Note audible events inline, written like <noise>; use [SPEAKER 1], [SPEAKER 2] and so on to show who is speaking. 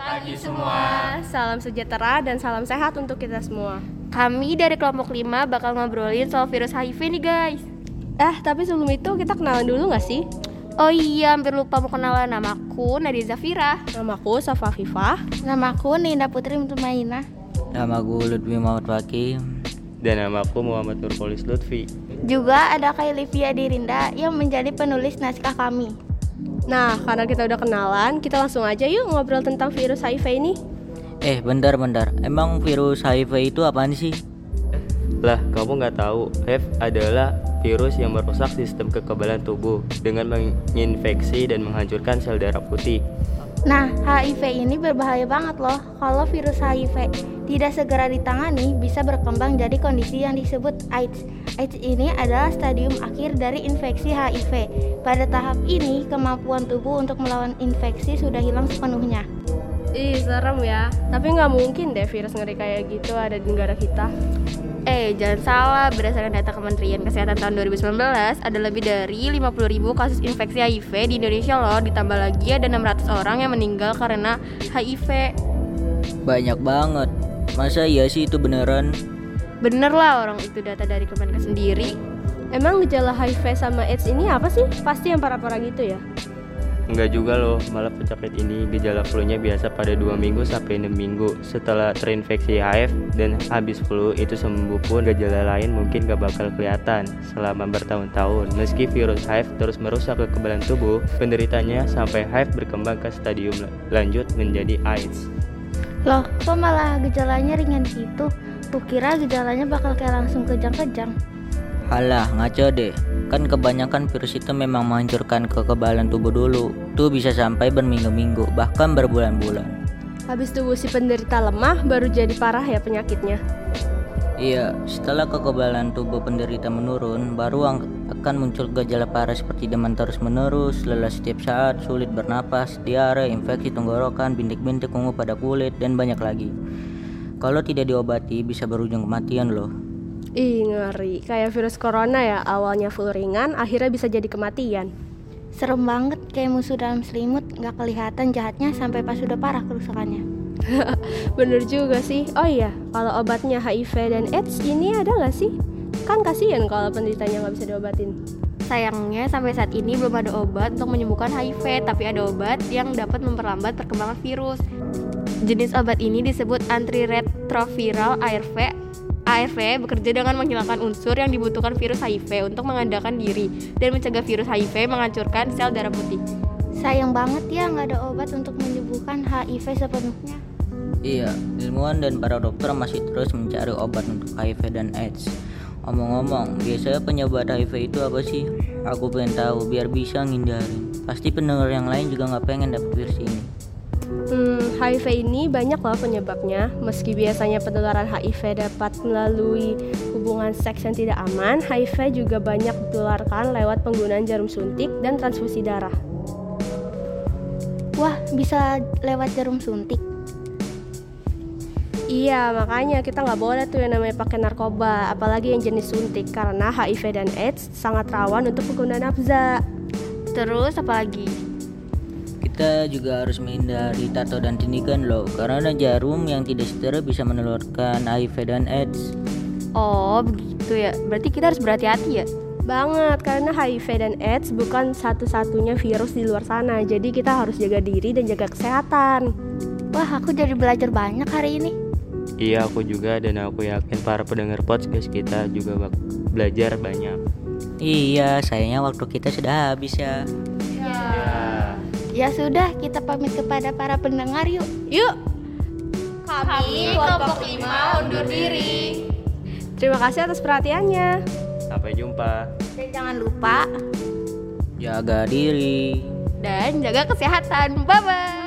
[SPEAKER 1] pagi semua.
[SPEAKER 2] Salam sejahtera dan salam sehat untuk kita semua.
[SPEAKER 3] Kami dari kelompok 5 bakal ngobrolin soal virus HIV nih guys
[SPEAKER 2] Eh, tapi sebelum itu kita kenalan dulu nggak sih?
[SPEAKER 3] Oh iya, hampir lupa mau kenalan namaku Nadia Zafira
[SPEAKER 2] Namaku Safa Fifah.
[SPEAKER 4] Namaku Ninda Putri Mutmainah.
[SPEAKER 5] Nama gue Ludwi Muhammad Fakih.
[SPEAKER 6] Dan namaku Muhammad Nurpolis Lutfi.
[SPEAKER 4] Juga ada Kailivia Dirinda yang menjadi penulis naskah kami.
[SPEAKER 2] Nah, karena kita udah kenalan, kita langsung aja yuk ngobrol tentang virus HIV ini.
[SPEAKER 5] Eh, bentar bentar. Emang virus HIV itu apaan sih?
[SPEAKER 6] Lah, kamu nggak tahu, HIV adalah virus yang merusak sistem kekebalan tubuh dengan menginfeksi dan menghancurkan sel darah putih.
[SPEAKER 4] Nah, HIV ini berbahaya banget loh. Kalau virus HIV tidak segera ditangani, bisa berkembang jadi kondisi yang disebut AIDS. AIDS ini adalah stadium akhir dari infeksi HIV. Pada tahap ini, kemampuan tubuh untuk melawan infeksi sudah hilang sepenuhnya.
[SPEAKER 2] Ih, serem ya. Tapi nggak mungkin deh virus ngeri kayak gitu ada di negara kita.
[SPEAKER 3] Eh, jangan salah, berdasarkan data Kementerian Kesehatan tahun 2019 Ada lebih dari 50 ribu kasus infeksi HIV di Indonesia loh Ditambah lagi ada 600 orang yang meninggal karena HIV
[SPEAKER 5] Banyak banget. Masa iya sih itu beneran?
[SPEAKER 3] Bener lah orang itu data dari Kemenkes sendiri
[SPEAKER 2] Emang gejala HIV sama AIDS ini apa sih? Pasti yang parah-parah gitu ya?
[SPEAKER 6] Enggak juga loh, malah penyakit ini gejala flu-nya biasa pada 2 minggu sampai 6 minggu setelah terinfeksi HIV dan habis flu itu sembuh pun gejala lain mungkin gak bakal kelihatan selama bertahun-tahun. Meski virus HIV terus merusak kekebalan tubuh, penderitanya sampai HIV berkembang ke stadium la- lanjut menjadi AIDS.
[SPEAKER 4] Loh, kok malah gejalanya ringan gitu? Tuh kira gejalanya bakal kayak langsung kejang-kejang.
[SPEAKER 5] Halah, ngaco deh. Kan kebanyakan virus itu memang menghancurkan kekebalan tubuh dulu. Tuh bisa sampai berminggu-minggu, bahkan berbulan-bulan.
[SPEAKER 2] Habis tubuh si penderita lemah, baru jadi parah ya penyakitnya.
[SPEAKER 5] Iya, setelah kekebalan tubuh penderita menurun, baru ang- akan muncul gejala parah seperti demam terus-menerus, lelah setiap saat, sulit bernapas, diare, infeksi tenggorokan, bintik-bintik ungu pada kulit, dan banyak lagi. Kalau tidak diobati, bisa berujung kematian loh.
[SPEAKER 2] Ih, ngeri. Kayak virus corona ya, awalnya flu ringan, akhirnya bisa jadi kematian.
[SPEAKER 4] Serem banget kayak musuh dalam selimut, nggak kelihatan jahatnya sampai pas sudah parah kerusakannya.
[SPEAKER 2] <laughs> Bener juga sih. Oh iya, kalau obatnya HIV dan AIDS ini ada nggak sih? Kan kasihan kalau penderitanya nggak bisa diobatin.
[SPEAKER 3] Sayangnya sampai saat ini belum ada obat untuk menyembuhkan HIV, tapi ada obat yang dapat memperlambat perkembangan virus. Jenis obat ini disebut antiretroviral ARV. ARV bekerja dengan menghilangkan unsur yang dibutuhkan virus HIV untuk mengandalkan diri dan mencegah virus HIV menghancurkan sel darah putih.
[SPEAKER 4] Sayang banget ya nggak ada obat untuk menyembuhkan HIV sepenuhnya.
[SPEAKER 5] Iya, ilmuwan dan para dokter masih terus mencari obat untuk HIV dan AIDS. Omong-omong, biasanya penyebab HIV itu apa sih? Aku pengen tahu biar bisa ngindarin. Pasti pendengar yang lain juga nggak pengen dapet virus ini.
[SPEAKER 2] Hmm, HIV ini banyak loh penyebabnya. Meski biasanya penularan HIV dapat melalui hubungan seks yang tidak aman, HIV juga banyak ditularkan lewat penggunaan jarum suntik dan transfusi darah.
[SPEAKER 4] Wah, bisa lewat jarum suntik.
[SPEAKER 2] Iya, makanya kita nggak boleh tuh yang namanya pakai narkoba, apalagi yang jenis suntik, karena HIV dan AIDS sangat rawan untuk penggunaan nafza.
[SPEAKER 3] Terus apalagi?
[SPEAKER 5] Kita juga harus menghindari tato dan tindikan loh, karena jarum yang tidak steril bisa menularkan HIV dan AIDS.
[SPEAKER 3] Oh, begitu ya. Berarti kita harus berhati-hati ya.
[SPEAKER 2] Banget, karena HIV dan AIDS bukan satu-satunya virus di luar sana, jadi kita harus jaga diri dan jaga kesehatan.
[SPEAKER 4] Wah, aku jadi belajar banyak hari ini.
[SPEAKER 6] Iya, aku juga dan aku yakin para pendengar podcast kita juga bak- belajar banyak.
[SPEAKER 5] Iya, sayangnya waktu kita sudah habis ya.
[SPEAKER 4] Ya sudah, kita pamit kepada para pendengar yuk.
[SPEAKER 2] Yuk,
[SPEAKER 3] Kami kelompok 5 undur diri.
[SPEAKER 2] terima kasih atas perhatiannya.
[SPEAKER 6] Sampai jumpa.
[SPEAKER 4] Dan jangan lupa
[SPEAKER 5] Jaga diri.
[SPEAKER 3] Dan jaga kesehatan. Bye-bye.